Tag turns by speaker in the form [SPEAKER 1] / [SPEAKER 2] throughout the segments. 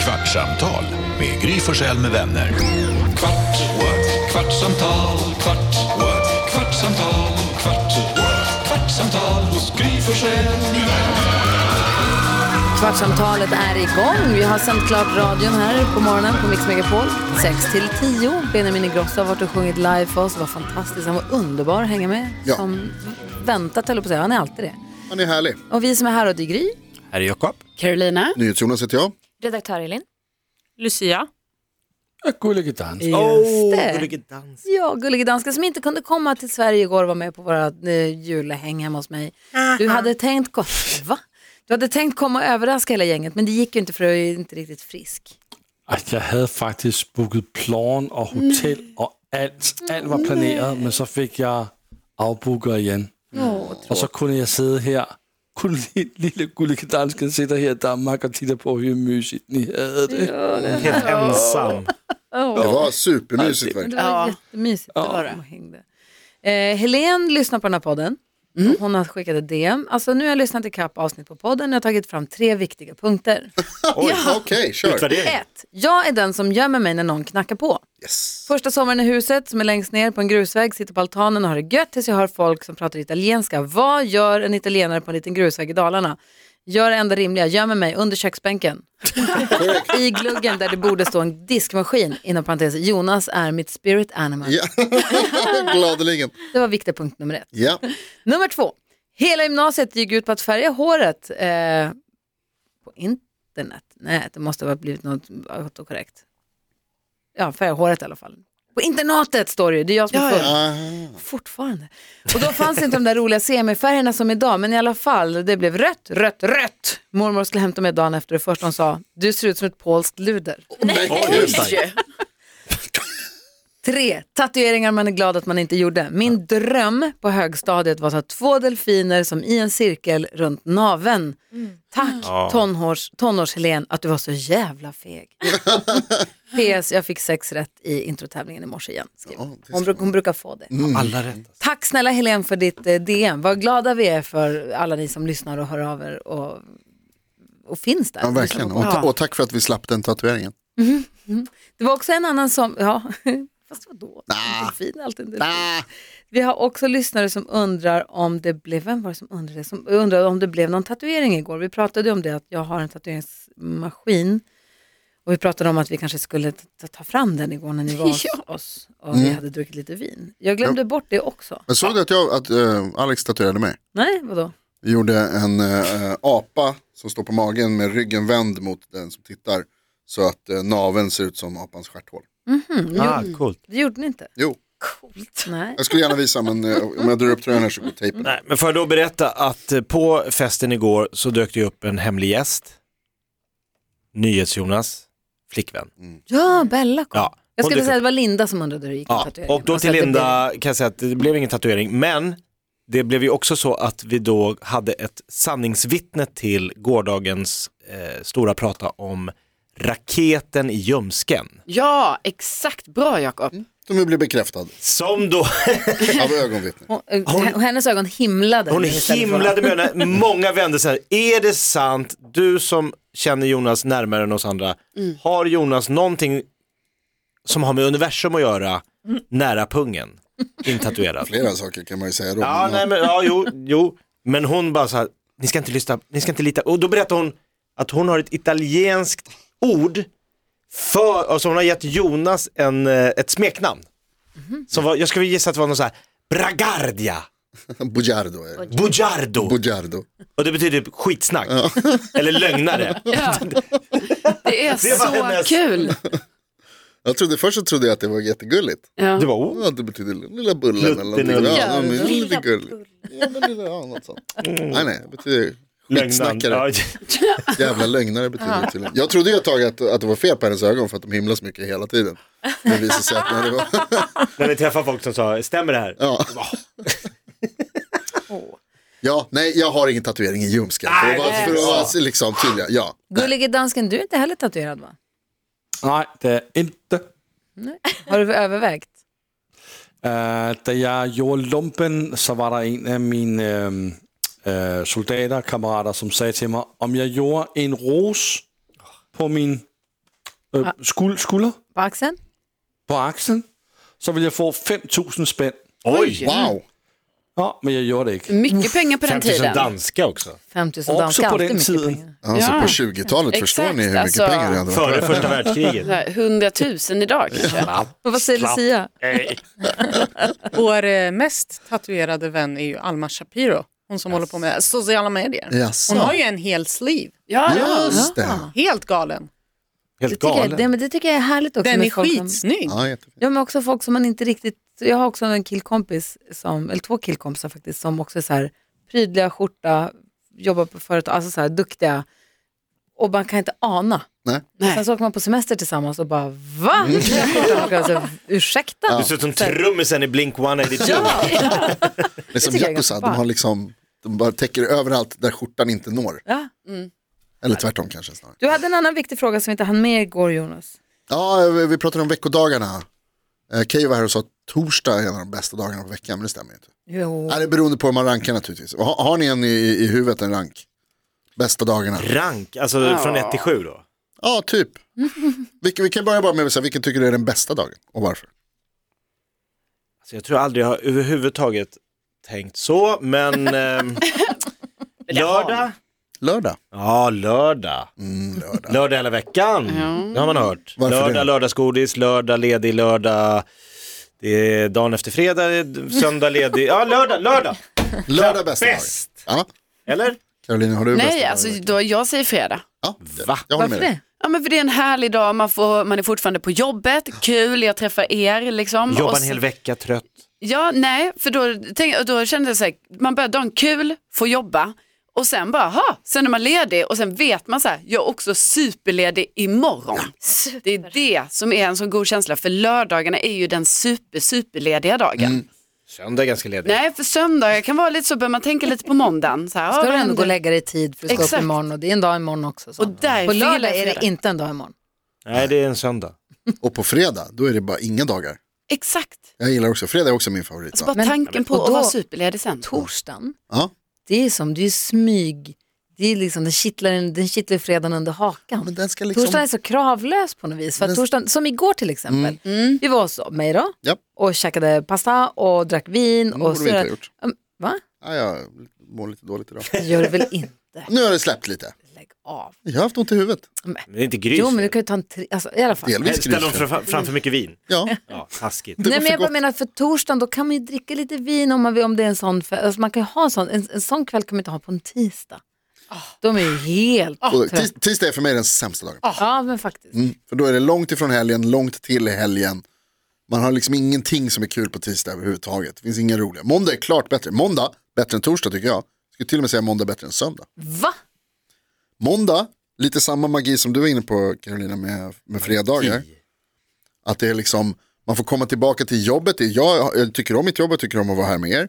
[SPEAKER 1] Kvartsamtal med Gry Forssell med vänner. Kvart, what? kvartsamtal, kvart, what? kvartsamtal, kvart, what? kvartsamtal hos Gry Forssell med vänner.
[SPEAKER 2] Kvartsamtalet är igång. Vi har sänt klart radion här på morgonen på Mix Megapol. 6 till 10. Benjamin Ingrosso har varit och sjungit live för oss. Det var fantastiskt. Han var underbar att hänga med.
[SPEAKER 3] Ja.
[SPEAKER 2] Som väntat, höll jag på att säga. Han är alltid det.
[SPEAKER 3] Han är härlig.
[SPEAKER 2] Och vi som är här och det är Gry.
[SPEAKER 4] Här är Jakob.
[SPEAKER 5] Carolina.
[SPEAKER 3] NyhetsJonas heter jag.
[SPEAKER 6] Redaktör Elin.
[SPEAKER 5] Lucia.
[SPEAKER 4] Gullige dans.
[SPEAKER 2] Just det. Ja, Gullige Dansken som inte kunde komma till Sverige igår var med på våra eh, julhäng hemma hos mig. Du hade tänkt, ko- Va? du hade tänkt komma och överraska hela gänget men det gick ju inte för du är inte riktigt frisk.
[SPEAKER 7] At jeg havde faktisk booket plan og hotel og alt. Alt var planeret, men så fik jeg afbooket igen. og så kunne jeg sidde her. Kun lille, lille gullige dansken sidder her i Danmark og titter på, hur mysigt ni havde det.
[SPEAKER 8] Helt ensam.
[SPEAKER 3] Det var supermysigt
[SPEAKER 2] Men
[SPEAKER 3] verkligen.
[SPEAKER 2] Det var
[SPEAKER 5] Ja.
[SPEAKER 2] jättemysigt. Ja. Det var det. Hängde. Eh, Helen lyssnar på den här podden. Hon har skickat ett DM. Alltså nu har jag lyssnat ikapp avsnitt på podden och jag har tagit fram tre viktiga punkter.
[SPEAKER 3] Oj, okej, kör.
[SPEAKER 8] Utvärdering.
[SPEAKER 2] Ett, jag är den som gömmer mig när någon knackar på. Första sommaren i huset som är längst ner på en grusväg, sitter på altanen och har det gött tills jag hör folk som pratar italienska. Vad gör en italienare på en liten grusväg i Dalarna? Gör det enda rimliga, gömmer mig under köksbänken. I gluggen där det borde stå en diskmaskin, inom parentes, Jonas är mitt spirit animal.
[SPEAKER 3] Ja. Gladeligen.
[SPEAKER 2] Det var viktig punkt nummer ett.
[SPEAKER 3] Ja.
[SPEAKER 2] Nummer två. Hela gymnasiet gick ut på att färga håret eh, på internet. Nej, det måste ha blivit något autokorrekt. Ja, färga håret i alla fall. På internatet står det ju, det är jag som är full.
[SPEAKER 3] Aha.
[SPEAKER 2] Fortfarande. Och då fanns inte de där roliga semifärgerna som idag, men i alla fall, det blev rött, rött, rött. Mormor skulle hämta mig dagen efter och först hon sa, du ser ut som ett polskt luder. Tre, tatueringar man är glad att man inte gjorde. Min dröm på högstadiet var att ha två delfiner som i en cirkel runt naveln.
[SPEAKER 3] Mm.
[SPEAKER 2] Tack tonårs, tonårs-Helen att du var så jävla feg. PS, jag fick sex rätt i introtävlingen i morse igen. skriver hon. hon, bruk, hon brukar få det.
[SPEAKER 3] Mm.
[SPEAKER 4] Alla rätt.
[SPEAKER 2] Tack snälla Helen för ditt eh, DM. Vad glada vi är för alla ni som lyssnar och hör av er och, och finns där.
[SPEAKER 3] Ja, verkligen. Och, ta- och tack för att vi slapp den tatueringen.
[SPEAKER 2] Det var också en annan som, ja, fast vadå? Nah. Delfin, är alltid en delfin. Vi har också lyssnare som undrar om det blev, vem var det som undrade det? Som undrade om det blev någon tatuering igår. Vi pratade ju om det att jag har en tatueringsmaskin och vi pratade om att vi kanske skulle ta, ta fram den igår när ni var hos oss och
[SPEAKER 8] Mm.
[SPEAKER 2] vi hade druckit lite vin. Jag glömde bort det också.
[SPEAKER 3] Men såg du att, jag, att eh, Alex tatuerade mig?
[SPEAKER 2] Nej, vadå?
[SPEAKER 3] Vi gjorde en eh, apa som står på magen med ryggen vänd mot den som tittar. Så att uh, naveln ser ut som apans stjärthål.
[SPEAKER 8] Ah, coolt.
[SPEAKER 2] Det gjorde ni inte?
[SPEAKER 3] Jo,
[SPEAKER 2] Coolt. Nej.
[SPEAKER 3] jag skulle gärna visa men eh, om jag drar upp tröjan här så går tejpen.
[SPEAKER 8] Nej, men får jag då berätta att eh, på festen igår så dök det upp en hemlig gäst. NyhetsJonas flickvän.
[SPEAKER 2] Ja, Bella kom.
[SPEAKER 8] Ja,
[SPEAKER 2] Jag
[SPEAKER 8] hon
[SPEAKER 2] skulle
[SPEAKER 8] dyker
[SPEAKER 2] säga att det var Linda som undrade hur det gick med
[SPEAKER 8] Ja.
[SPEAKER 2] tatueringen.
[SPEAKER 8] Och då
[SPEAKER 2] Alltså
[SPEAKER 8] till
[SPEAKER 2] att det
[SPEAKER 8] Linda kan jag säga att det blev ingen tatuering, men det blev ju också så att vi då hade ett sanningsvittne till gårdagens eh, stora prata om raketen i ljumsken.
[SPEAKER 5] Ja, exakt. Bra Jakob.
[SPEAKER 3] De blev bekräftad
[SPEAKER 8] Som då
[SPEAKER 3] av ögonvittnen.
[SPEAKER 2] blev- Hon, eh, hennes ögon himlade.
[SPEAKER 8] Hon
[SPEAKER 2] istället för-
[SPEAKER 8] himlade med ögonen. Många vände sig. Är det sant? Du som känner Jonas närmare än oss andra. Har Jonas någonting som har med universum att göra nära pungen? Intatuerad.
[SPEAKER 3] Flera saker kan man ju säga då.
[SPEAKER 8] Ja,
[SPEAKER 3] men,
[SPEAKER 8] nej, men, ja jo, jo. men hon bara så här, ni ska inte lyssna, ni ska inte lita. Och då berättar hon att hon har ett italienskt ord för, alltså hon har gett Jonas en, eh, ett smeknamn. Som var, jag skulle gissa att det var någon så här, Bragardia,
[SPEAKER 3] Bugiardo är det.
[SPEAKER 8] Bugiardo.
[SPEAKER 3] Bugiardo.
[SPEAKER 8] Och det betyder typ skitsnack. Eller lögnare.
[SPEAKER 5] Det är
[SPEAKER 8] Det var
[SPEAKER 5] så
[SPEAKER 8] hennes-
[SPEAKER 5] kul.
[SPEAKER 3] Jag trodde, först så trodde jag att det var jättegulligt.
[SPEAKER 5] Ja.
[SPEAKER 8] Det var oh.
[SPEAKER 3] Ja, det betyder lilla bullen eller någonting.
[SPEAKER 8] Luttinull.
[SPEAKER 3] Ja, men det är lite gulligt. Ja, men lilla, ja, något sånt. Nej, nej, det betyder
[SPEAKER 8] Mm. Ja,
[SPEAKER 3] skitsnackare. Jävla lögnare betyder det tydligen. Jag trodde ju ett tag att, att det var fel på hennes ögon för att de himlar så mycket hela tiden. Men det visade sig att nej, det var...
[SPEAKER 8] När vi träffar folk som sa, stämmer det här?
[SPEAKER 3] Ja. Ja, nej, jag har ingen tatuering i ljumsken. För att vara, för att vara liksom tydliga, ja.
[SPEAKER 2] Gullige dansken, du är inte heller tatuerad va?
[SPEAKER 7] Nej, det er ikke.
[SPEAKER 2] Har du övervägt?
[SPEAKER 7] Øh, da jeg gjorde lumpen, så var der en af mine øhm, øh, soldaterkammerater, som sagde til mig, om jeg gjorde en ros på min øh, skul, skulder
[SPEAKER 2] På axeln?
[SPEAKER 7] på aksen, så ville jeg få 5.000 spænd.
[SPEAKER 8] Oj!
[SPEAKER 3] Wow.
[SPEAKER 7] Ja, men jag gjorde det inte.
[SPEAKER 5] Mycket pengar på den
[SPEAKER 8] 50 000
[SPEAKER 5] tiden.
[SPEAKER 8] danska också.
[SPEAKER 2] 50 000
[SPEAKER 7] Också
[SPEAKER 2] danskar,
[SPEAKER 7] på
[SPEAKER 2] alltid
[SPEAKER 7] den
[SPEAKER 2] mycket
[SPEAKER 7] tiden.
[SPEAKER 2] pengar.
[SPEAKER 3] Alltså
[SPEAKER 5] Ja.
[SPEAKER 3] på 20-talet förstår
[SPEAKER 5] Exakt,
[SPEAKER 3] ni hur mycket
[SPEAKER 5] alltså.
[SPEAKER 3] pengar det hade varit.
[SPEAKER 8] Före första världskriget.
[SPEAKER 5] Så här, 100 000 idag kanske.
[SPEAKER 2] Men vad säger Lucia?
[SPEAKER 6] Vår eh, mest tatuerade vän är ju Alma Shapiro. Hon som håller på med sociala medier.
[SPEAKER 3] Jaså.
[SPEAKER 6] Hon har ju en hel sleeve.
[SPEAKER 5] Ja, ja.
[SPEAKER 3] Just det.
[SPEAKER 6] Helt galen.
[SPEAKER 2] Det
[SPEAKER 8] Helt
[SPEAKER 2] tycker, jag, det,
[SPEAKER 8] galen.
[SPEAKER 2] men det tycker jag är härligt också.
[SPEAKER 6] Den
[SPEAKER 2] med
[SPEAKER 6] är
[SPEAKER 2] folk som-
[SPEAKER 6] skitsnygg.
[SPEAKER 3] Ja, jättefint.
[SPEAKER 2] Ja, men också folk som man inte riktigt... Jag har också en killkompis, som, eller två killkompisar faktiskt, som också är så här prydliga, skjorta, jobbar på företag, alltså så här duktiga. Och man kan inte ana.
[SPEAKER 3] Nej.
[SPEAKER 5] Nej.
[SPEAKER 2] Sen så åker man på semester tillsammans och bara va? Alltså, ursäkta?
[SPEAKER 3] Ja.
[SPEAKER 8] Du ser ut som trummisen i Blink 182.
[SPEAKER 3] Det är som
[SPEAKER 2] tycker jag är
[SPEAKER 3] jackosar,
[SPEAKER 2] ganska
[SPEAKER 3] de har liksom, de bara täcker överallt där skjortan inte når. Mm.
[SPEAKER 2] Ja.
[SPEAKER 3] Eller tvärtom kanske snarare.
[SPEAKER 2] Du hade en annan viktig fråga som vi inte hann med igår Jonas.
[SPEAKER 3] Ja, vi vi pratade om veckodagarna. Eh, Keyyo var här och sa att torsdag är en av de bästa dagarna på veckan, men det stämmer ju inte.
[SPEAKER 2] Jo.
[SPEAKER 3] Ja, det är beroende på hur man rankar naturligtvis. Har, har ni en i, i huvudet, en rank? Bästa dagarna?
[SPEAKER 8] Rank, alltså från 1 till 7 då.
[SPEAKER 3] Ja, typ. Vilken, vi kan börja bara med att säga, vilken tycker du är den bästa dagen och varför?
[SPEAKER 8] Alltså, jag tror aldrig jag har överhuvudtaget tänkt så, men... ehm, lördag?
[SPEAKER 3] Lördag.
[SPEAKER 8] Ja, lördag.
[SPEAKER 3] Mm, lördag.
[SPEAKER 8] Lördag hela veckan, det har man hört.
[SPEAKER 3] Varför
[SPEAKER 8] lördag,
[SPEAKER 3] det?
[SPEAKER 8] lördagsgodis, lördag, ledig, lördag. Det är dagen efter fredag, söndag, ledig. Ja, lördag, lördag.
[SPEAKER 3] Lördag bästa
[SPEAKER 8] Bäst!
[SPEAKER 3] dagen. Ja.
[SPEAKER 8] Eller?
[SPEAKER 3] Carolina, har du bästa
[SPEAKER 5] Nej,
[SPEAKER 3] dagen i
[SPEAKER 5] alltså
[SPEAKER 3] veckan?
[SPEAKER 5] då, jag säger fredag.
[SPEAKER 3] Ja,
[SPEAKER 8] Va?
[SPEAKER 3] jag
[SPEAKER 2] Varför
[SPEAKER 3] håller med dig.
[SPEAKER 2] det?
[SPEAKER 5] Ja, men för det är en härlig dag, man, får, man är fortfarande på jobbet, kul, jag träffar er liksom.
[SPEAKER 8] Jobba
[SPEAKER 5] Och
[SPEAKER 8] en
[SPEAKER 5] så-
[SPEAKER 8] hel vecka trött.
[SPEAKER 5] Ja, nej, för då, tänk, då kände jag så här, man börjar dagen kul, får jobba och sen bara, ha, sen är man ledig och sen vet man så här, jag är också superledig imorgon. Det är det som är en sån god känsla, för lördagarna är ju den super, superlediga dagen.
[SPEAKER 8] Mm. Söndag är ganska ledig.
[SPEAKER 5] Nej, för söndagar kan vara lite så, bör man tänka lite på måndagen. Så här,
[SPEAKER 2] Ska
[SPEAKER 5] ja,
[SPEAKER 2] du
[SPEAKER 5] vad
[SPEAKER 2] ändå gå och
[SPEAKER 5] händer?
[SPEAKER 2] lägga dig i tid för att stå upp
[SPEAKER 5] Exakt.
[SPEAKER 2] imorgon och det är en dag imorgon också. Så.
[SPEAKER 5] Och där
[SPEAKER 2] på
[SPEAKER 5] är
[SPEAKER 2] lördag
[SPEAKER 5] fredag,
[SPEAKER 2] är det
[SPEAKER 5] fredag.
[SPEAKER 2] inte en dag imorgon.
[SPEAKER 8] Nej, det är en söndag.
[SPEAKER 3] Och på fredag, då är det bara inga dagar.
[SPEAKER 5] Exakt,
[SPEAKER 3] Jag gillar också, fredag är också min favorit.
[SPEAKER 5] alltså bara
[SPEAKER 2] Men-
[SPEAKER 5] tanken på
[SPEAKER 2] och då-
[SPEAKER 5] att vara superledig sen.
[SPEAKER 2] Torsdagen,
[SPEAKER 3] Ja.
[SPEAKER 2] det är som, det är smyg. Det är liksom, den kittlar, den kittlar fredagen under hakan.
[SPEAKER 3] Men den ska liksom-
[SPEAKER 2] Torsdagen är så kravlös på något vis. För att
[SPEAKER 3] Den-
[SPEAKER 2] torsdagen, som igår till exempel,
[SPEAKER 3] Mm.
[SPEAKER 2] vi var hos mig då
[SPEAKER 3] Japp.
[SPEAKER 2] och käkade pasta och drack vin.
[SPEAKER 3] Det
[SPEAKER 2] Och
[SPEAKER 3] Mm, borde vi inte ha
[SPEAKER 2] så, Mm,
[SPEAKER 3] gjort.
[SPEAKER 2] va?
[SPEAKER 3] Ja, jag mår lite dåligt idag.
[SPEAKER 2] Det gör det väl inte?
[SPEAKER 3] Nu har det släppt lite.
[SPEAKER 2] Lägg av.
[SPEAKER 3] Jag har haft ont i huvudet.
[SPEAKER 8] Det är inte grys.
[SPEAKER 2] Jo, men du kan ju ta en tre, alltså, i alla fall.
[SPEAKER 3] Delvis
[SPEAKER 8] Ställ dem
[SPEAKER 3] grus.
[SPEAKER 8] fram, framför mycket vin.
[SPEAKER 3] Ja,
[SPEAKER 8] Ja, taskigt.
[SPEAKER 3] det
[SPEAKER 2] Nej,
[SPEAKER 3] var
[SPEAKER 2] men
[SPEAKER 3] för
[SPEAKER 2] jag bara
[SPEAKER 3] gott.
[SPEAKER 2] menar för torsdagen då kan man ju dricka lite vin om man vill, om det är en sån fe- alltså, man kan ju ha en sån, en, en sån kväll kan man inte ha på en tisdag. De är ju helt
[SPEAKER 3] Ah. Och
[SPEAKER 2] trötta.
[SPEAKER 3] tis- Tisdag är för mig den sämsta dagen.
[SPEAKER 2] Ja men faktiskt.
[SPEAKER 3] Mm, för då är det långt ifrån helgen, långt till helgen. Man har liksom ingenting som är kul på tisdag överhuvudtaget. Det finns inga roliga. Måndag är klart bättre. Måndag, bättre än torsdag tycker jag. Jag skulle till och med säga måndag bättre än söndag.
[SPEAKER 2] Va?
[SPEAKER 3] Måndag, lite samma magi som du var inne på Carolina med, med fredagar. Att det är liksom, man får komma tillbaka till jobbet. Det är- Jag, jag tycker om mitt jobb, jag tycker om att vara här med er.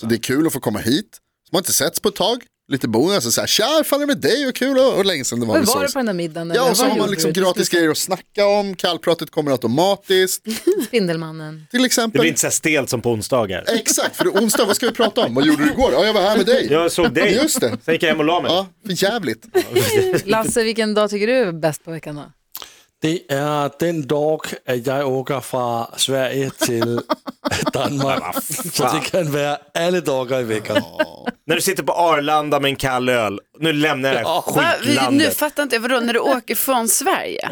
[SPEAKER 3] Så det är kul att få komma hit. Så man har inte setts på ett tag. Lite bonus, och så här, tja, hur fan är det med dig och kul och, och länge sedan det var
[SPEAKER 2] Var
[SPEAKER 3] med
[SPEAKER 2] var
[SPEAKER 3] Source.
[SPEAKER 2] du på den där middagen? eller
[SPEAKER 3] Ja, och så
[SPEAKER 2] vad
[SPEAKER 3] har man
[SPEAKER 2] gjorde
[SPEAKER 3] liksom
[SPEAKER 2] du?
[SPEAKER 3] gratis grejer att snacka om, kallpratet kommer automatiskt,
[SPEAKER 2] Spindelmannen.
[SPEAKER 3] till
[SPEAKER 8] Det
[SPEAKER 3] exempel.
[SPEAKER 8] blir inte så här stelt som på onsdagar.
[SPEAKER 3] Exakt, för det är onsdag, vad ska vi prata om? Vad gjorde du igår? Ja, jag var här med dig.
[SPEAKER 8] Jag såg dig.
[SPEAKER 3] Just det.
[SPEAKER 8] Sen gick jag hem och la mig.
[SPEAKER 3] Ja, för jävligt.
[SPEAKER 2] Lasse, vilken dag tycker du är bäst på veckan då?
[SPEAKER 7] Det är den dag, at jeg åker fra Sverige til Danmark. så det kan være alle dager i veckan.
[SPEAKER 8] När du sitter på Arlanda med en kall öl. Nu lämnar jag det här
[SPEAKER 5] Va? Vi- Nu
[SPEAKER 8] skitlandet
[SPEAKER 5] fattar inte jag, vadå när du åker från Sverige?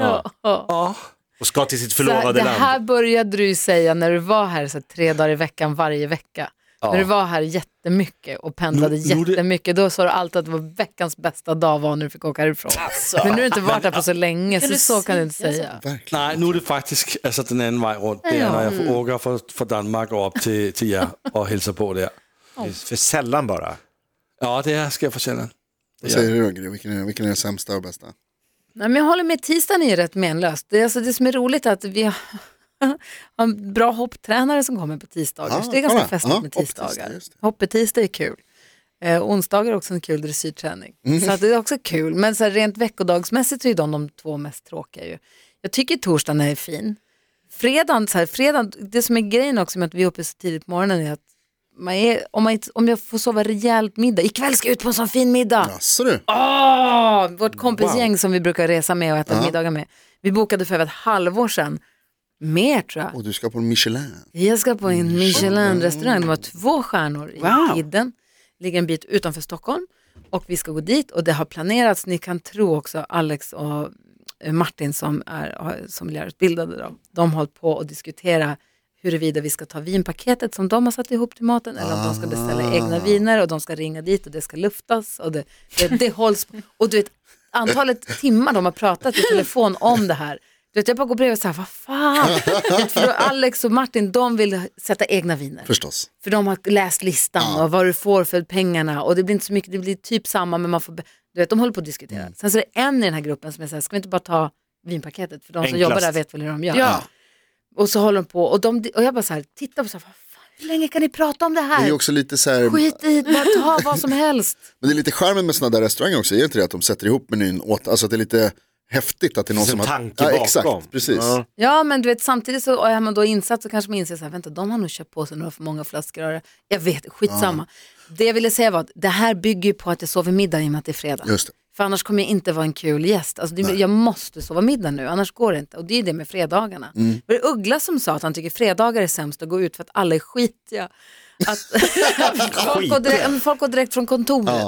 [SPEAKER 8] och ska till sitt
[SPEAKER 2] Så här,
[SPEAKER 8] förlovade
[SPEAKER 2] det här
[SPEAKER 8] land.
[SPEAKER 2] började du ju säga när du var här så här, tre dagar i veckan varje vecka. När du var här jättemycket och pendlade
[SPEAKER 7] Nu- nu det-
[SPEAKER 2] jättemycket, då sa du alltid att det var veckans bästa dag var när du fick åka härifrån.
[SPEAKER 3] Alltså.
[SPEAKER 2] Men nu har du inte varit här på så länge, så så kan du inte säga.
[SPEAKER 7] Nej, nu er det faktisk altså, den anden vej rundt. Det er, når jeg får- åker fra, fra Danmark og op til, til jer og hälsar på der.
[SPEAKER 8] För sällan bara.
[SPEAKER 7] Ja, det er, skal jeg fortælle
[SPEAKER 3] Vad säger du Gry, vilken är, vilken är den sämsta och bästa?
[SPEAKER 2] Nej, men jag håller med, tisdagen är ju rätt menlöst. Det, är alltså, det som är roligt är att vi har har en bra hopptränare som kommer på tisdagar.
[SPEAKER 3] Ah,
[SPEAKER 2] så det är ganska
[SPEAKER 3] kolla.
[SPEAKER 2] festligt
[SPEAKER 3] Ah,
[SPEAKER 2] med
[SPEAKER 3] hopptisdag,
[SPEAKER 2] tisdagar.
[SPEAKER 3] just
[SPEAKER 2] Hoppetisdag är kul. Eh, onsdagar är också en kul dressyrträning.
[SPEAKER 3] Mm.
[SPEAKER 2] Så att det är också kul. Men så här, rent veckodagsmässigt så är de de två mest tråkiga ju. Jag tycker torsdagen är fin. Fredagen, så här, fredagen, det som är grejen också med att vi är uppe så tidigt på morgonen är att man är, om, man, inte- om jag får sova rejält middag, ikväll ska jag ut på en sån fin middag.
[SPEAKER 3] Jaså du?
[SPEAKER 2] Åh, vårt kompisgäng som vi brukar resa med och äta middagar med. Vi bokade för över ett halvår sedan. Mer tror jag.
[SPEAKER 3] Och du ska på en Michelin.
[SPEAKER 2] Jag ska på en Michelin-restaurang. De har två stjärnor i Idden. Ligger en bit utanför Stockholm. Och vi ska gå dit och det har planerats. Ni kan tro också Alex och eh, Martin som är som lärarutbildade. Då. De har hållit på och diskutera huruvida vi ska ta vinpaketet som de har satt ihop till maten eller om de ska beställa egna viner och de ska ringa dit och det ska luftas och det, det, det hålls. Och du vet, antalet timmar de har pratat i telefon om det här. Du vet, jag bara går bredvid och säger, vad fan? Du vet, för då Alex och Martin, de vill sätta egna viner.
[SPEAKER 3] Förstås.
[SPEAKER 2] För de har läst listan och vad du får för pengarna och det blir inte så mycket, det blir typ samma men man får, be- du vet de håller på att diskutera.
[SPEAKER 3] Mm.
[SPEAKER 2] Sen så är det en i den här gruppen som är så här, ska vi inte bara ta vinpaketet för de som
[SPEAKER 8] Enklast.
[SPEAKER 2] jobbar där vet väl hur de gör. Och så håller de på och, de, och jag bara så här, tittar på så här, vad fan, hur länge kan ni prata om det
[SPEAKER 3] Det är
[SPEAKER 2] här?
[SPEAKER 3] ju också lite så här,
[SPEAKER 2] Skit i, det, bara ta vad som helst.
[SPEAKER 3] men det är lite charmen med sådana där restauranger också, är det inte det att de sätter ihop menyn åt, alltså att det är lite häftigt att det är någon
[SPEAKER 8] Finns en
[SPEAKER 3] som har...
[SPEAKER 8] tanke bakom.
[SPEAKER 3] exakt, precis.
[SPEAKER 8] Ja.
[SPEAKER 2] Ja men du vet samtidigt så är man då insatt så kanske man inser så här, vänta de har nog köpt på sig några för många flaskor öre. Jag vet, skitsamma. Det jag ville säga var att det här bygger ju på att jag sover middag i och med att det är fredag.
[SPEAKER 3] Just det.
[SPEAKER 2] För annars kommer jag inte vara en kul gäst. Alltså, det, jag måste sova middag nu, annars går det inte. Och det är ju det med fredagarna.
[SPEAKER 3] Mm.
[SPEAKER 2] Var det Uggla som sa att han tycker fredagar är sämst att gå ut för att alla är skitiga. Att folk, går direkt, ja, men folk går direkt från kontoret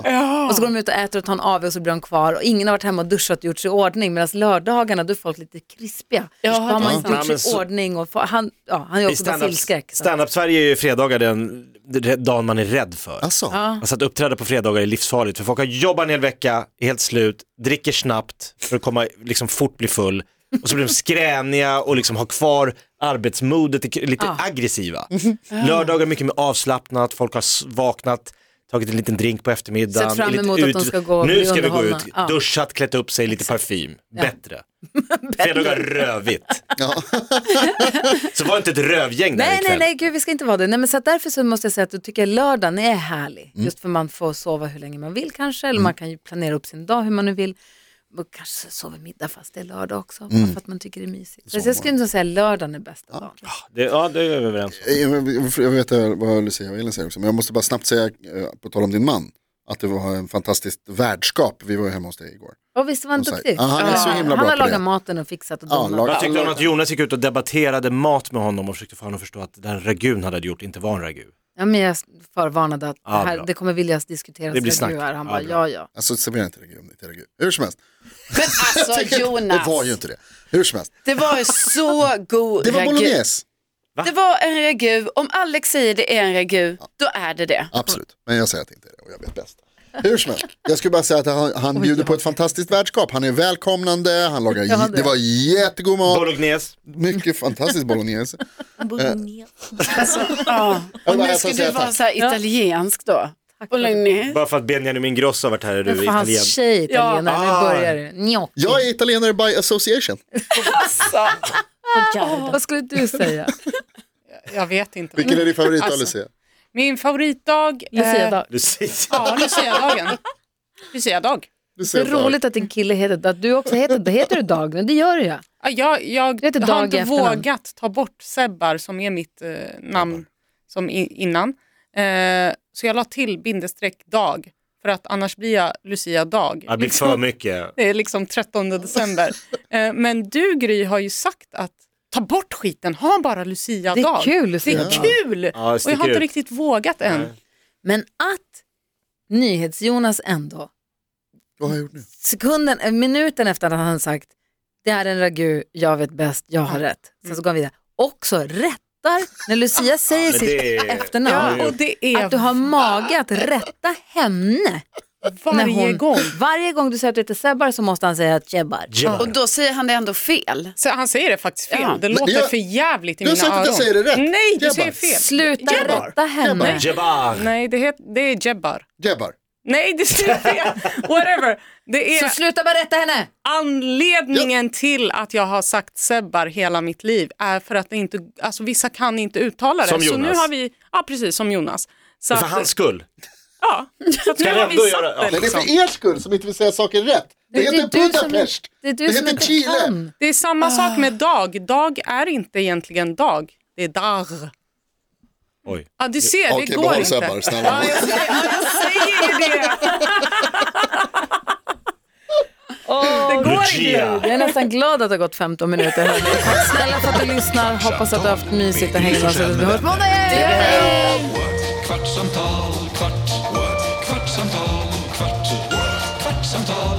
[SPEAKER 2] och så går de ut och äter och tar en AW och så blir de kvar och ingen har varit hemma och duschat och gjort sig i ordning medan lördagarna då är folk lite krispiga. Ja, har man inte
[SPEAKER 8] Ja,
[SPEAKER 2] gjort sig
[SPEAKER 8] men
[SPEAKER 2] i
[SPEAKER 8] så-
[SPEAKER 2] ordning och fa- han, ja, han är
[SPEAKER 8] I
[SPEAKER 2] också
[SPEAKER 8] stand-up-
[SPEAKER 2] basilskräck. så-
[SPEAKER 8] Stand-up Sverige är ju fredagar den den dagen man är rädd för.
[SPEAKER 3] Alltså,
[SPEAKER 8] Alltså att uppträda på fredagar är livsfarligt för folk har jobbat en hel vecka, är helt slut, dricker snabbt för att komma, liksom fort bli full och så blir de skräniga och liksom har kvar arbetsmodet, är lite aggressiva. Lördagar är mycket mer avslappnat, folk har s- vaknat, tagit en liten drink på eftermiddagen.
[SPEAKER 2] Sett fram
[SPEAKER 8] är lite
[SPEAKER 2] emot att de ska gå och
[SPEAKER 8] nu
[SPEAKER 2] bli
[SPEAKER 8] ska vi gå ut,
[SPEAKER 2] underhållna. Ja.
[SPEAKER 8] duschat, klätt upp sig, lite parfym. Bättre. Fredagar är rövigt. så var inte ett rövgäng där
[SPEAKER 2] Nej, nej,
[SPEAKER 8] ikväll.
[SPEAKER 2] nej, gud, vi ska inte vara det. Nej, men så att därför så måste jag säga att då tycker jag lördagen är härlig.
[SPEAKER 8] Mm.
[SPEAKER 2] Just för man får sova hur länge man vill kanske, eller man kan ju planera upp sin dag hur man nu vill. Och kanske sova middag fast det är lördag också,
[SPEAKER 8] Mm.
[SPEAKER 2] bara för att man tycker det är mysigt. Så, jag skulle nog säga att lördagen är bästa dagen.
[SPEAKER 8] Det, ja, det är vi överens om.
[SPEAKER 3] Eh, jag jag vet vad Lucia och Elin säger också, men jag måste bara snabbt säga, eh, på tal om din man, att det var en fantastiskt värdskap, vi var ju hemma hos dig igår.
[SPEAKER 2] Och visst var han
[SPEAKER 3] Och så-
[SPEAKER 2] duktig?
[SPEAKER 3] Ja, han är så himla bra
[SPEAKER 2] han har
[SPEAKER 3] på det.
[SPEAKER 2] lagat maten och fixat och
[SPEAKER 3] Ja,
[SPEAKER 2] donat.
[SPEAKER 3] lag-
[SPEAKER 8] Vad tyckte hon att Jonas gick ut och debatterade mat med honom och försökte få honom att förstå att den ragun han hade gjort inte var en ragu?
[SPEAKER 2] Ja, men jag förvarnade att
[SPEAKER 8] Ja,
[SPEAKER 2] det, här,
[SPEAKER 8] bra.
[SPEAKER 2] det kommer viljas diskuteras.
[SPEAKER 8] Det blir
[SPEAKER 2] när
[SPEAKER 8] snack.
[SPEAKER 2] du är här. Han
[SPEAKER 8] Ja,
[SPEAKER 2] bara, ja,
[SPEAKER 8] bra.
[SPEAKER 2] ja.
[SPEAKER 3] Alltså servera inte det om det inte är gud. Hur som helst,
[SPEAKER 5] Men alltså
[SPEAKER 3] det
[SPEAKER 5] Jonas,
[SPEAKER 3] var ju inte det. Hur som helst,
[SPEAKER 5] det var ju så god
[SPEAKER 3] det var
[SPEAKER 5] ragu.
[SPEAKER 3] bolognese.
[SPEAKER 5] Det var en ragu, om Alex säger det är en ragu, då är det det.
[SPEAKER 3] Absolut, men jag säger att det inte är det och jag vet bäst. Hur som helst, jag skulle bara säga att han, han bjuder på ett fantastiskt värdskap. Han är välkomnande, han lagar,
[SPEAKER 2] Ja,
[SPEAKER 3] det.
[SPEAKER 2] det.
[SPEAKER 3] var jättegod mat,
[SPEAKER 8] Bolognese.
[SPEAKER 3] mycket fantastisk bolognese. Alltså,
[SPEAKER 5] Ja.
[SPEAKER 3] Jag
[SPEAKER 5] Och
[SPEAKER 3] bara,
[SPEAKER 5] nu
[SPEAKER 3] jag
[SPEAKER 5] ska
[SPEAKER 3] ska säga
[SPEAKER 5] du vara
[SPEAKER 3] alltså, tack.
[SPEAKER 5] så här italiensk då. Bolognese.
[SPEAKER 8] Bara för att Benjamin Ingrosso har varit här är du
[SPEAKER 2] Men för
[SPEAKER 8] italien.
[SPEAKER 2] hans tjej är italienare,
[SPEAKER 8] Ah.
[SPEAKER 2] nu börjar det. Gnocchi.
[SPEAKER 3] Jag är italienare by association.
[SPEAKER 5] Alltså,
[SPEAKER 2] Vad skulle du
[SPEAKER 6] Eh,
[SPEAKER 2] säga?
[SPEAKER 6] Jag vet inte.
[SPEAKER 3] Vilken är din favorit
[SPEAKER 2] Alltså,
[SPEAKER 3] då Lucia?
[SPEAKER 6] Min favoritdag
[SPEAKER 2] Lucia dag.
[SPEAKER 8] Lucia.
[SPEAKER 6] Ja, Lucia-dagen. Lucia-dag.
[SPEAKER 3] Lucia
[SPEAKER 2] Så roligt att din kille heter att du också heter, heter du Dag nu, det gör du ju.
[SPEAKER 6] Ja, jag jag
[SPEAKER 2] Det heter
[SPEAKER 6] har
[SPEAKER 2] dag
[SPEAKER 6] inte
[SPEAKER 2] i efternamn.
[SPEAKER 6] vågat ta bort Sebbar som är mitt eh, namn som i, innan. Eh, så jag la till bindestreck dag för att annars blir jag Lucia dag.
[SPEAKER 8] Det blir för mycket.
[SPEAKER 6] Det är liksom 13 december. Eh, Men du Gry har ju sagt att ta bort skiten, ha bara Lucia
[SPEAKER 2] Det är
[SPEAKER 6] dag.
[SPEAKER 2] kul
[SPEAKER 6] Det
[SPEAKER 2] Lucia
[SPEAKER 6] är
[SPEAKER 2] dag.
[SPEAKER 6] kul!
[SPEAKER 8] Ja, det
[SPEAKER 6] Och jag har
[SPEAKER 8] sticker
[SPEAKER 6] inte
[SPEAKER 8] ut.
[SPEAKER 6] riktigt vågat än.
[SPEAKER 2] Men att NyhetsJonas ändå,
[SPEAKER 3] Vad har jag gjort nu?
[SPEAKER 2] sekunden, eh, minuten efter att han sagt det är en ragu, jag vet bäst, jag har rätt. Sen så går han vidare. Också rättar när Lucia säger
[SPEAKER 8] men
[SPEAKER 2] sitt
[SPEAKER 8] det är-
[SPEAKER 2] efternamn.
[SPEAKER 6] Och det är
[SPEAKER 2] Att du har mage att rätta henne.
[SPEAKER 6] varje
[SPEAKER 2] när hon,
[SPEAKER 6] gång.
[SPEAKER 2] Varje gång du säger att du heter Sebbar så måste han säga att Jebbar.
[SPEAKER 8] Jebbar.
[SPEAKER 5] och då säger han det ändå fel.
[SPEAKER 6] Så han säger det faktiskt fel.
[SPEAKER 5] Ja.
[SPEAKER 6] Det låter
[SPEAKER 3] jag-
[SPEAKER 6] för jävligt i
[SPEAKER 3] Du har
[SPEAKER 6] mina
[SPEAKER 3] sagt
[SPEAKER 6] öron.
[SPEAKER 3] att jag säger det rätt.
[SPEAKER 6] Nej, du
[SPEAKER 3] Jebbar.
[SPEAKER 6] säger fel.
[SPEAKER 2] Sluta
[SPEAKER 6] Jebbar.
[SPEAKER 2] rätta henne.
[SPEAKER 8] Jebbar.
[SPEAKER 6] Nej, det, het, det är Jebbar.
[SPEAKER 3] Jebbar.
[SPEAKER 6] Nej, det säger fel. Whatever. Det
[SPEAKER 2] Så
[SPEAKER 6] är
[SPEAKER 2] sluta bara rätta henne.
[SPEAKER 6] anledningen till att jag har sagt Sebbar hela mitt liv är för att det inte, alltså vissa kan inte uttala det.
[SPEAKER 8] Som
[SPEAKER 6] Så nu
[SPEAKER 8] Jonas.
[SPEAKER 6] har vi, ja precis som Jonas. Så
[SPEAKER 8] För
[SPEAKER 6] att,
[SPEAKER 8] hans skull.
[SPEAKER 6] ja, så att nu
[SPEAKER 8] jag
[SPEAKER 6] har vi
[SPEAKER 8] ändå
[SPEAKER 6] satt
[SPEAKER 8] göra- ja.
[SPEAKER 6] det
[SPEAKER 3] Nej, det är
[SPEAKER 6] liksom.
[SPEAKER 3] för er skull som inte vill säga saker rätt. Det,
[SPEAKER 2] Det är
[SPEAKER 3] heter
[SPEAKER 2] du som-
[SPEAKER 3] Budapest.
[SPEAKER 2] det är du som
[SPEAKER 3] heter
[SPEAKER 2] inte
[SPEAKER 3] Chile.
[SPEAKER 2] kan.
[SPEAKER 6] Det är samma sak med dag. Dag är inte egentligen dag. Det är dar.
[SPEAKER 8] Oj.
[SPEAKER 6] Ja, du ser, det
[SPEAKER 3] Okej,
[SPEAKER 6] går
[SPEAKER 3] behåll
[SPEAKER 6] inte.
[SPEAKER 3] Sebbar, snälla.
[SPEAKER 6] Säger ju det.
[SPEAKER 2] det går
[SPEAKER 8] Lucia.
[SPEAKER 2] inte. Jag är nästan glad att det har gått 15 minuter. hörni. Tack snälla för att du lyssnar. Hoppas att du har haft mysigt och hänger med oss. Vi hörs på måndag.
[SPEAKER 1] Kvartsamtal, kvart, what? kvartsamtal, kvart, what? kvartsamtal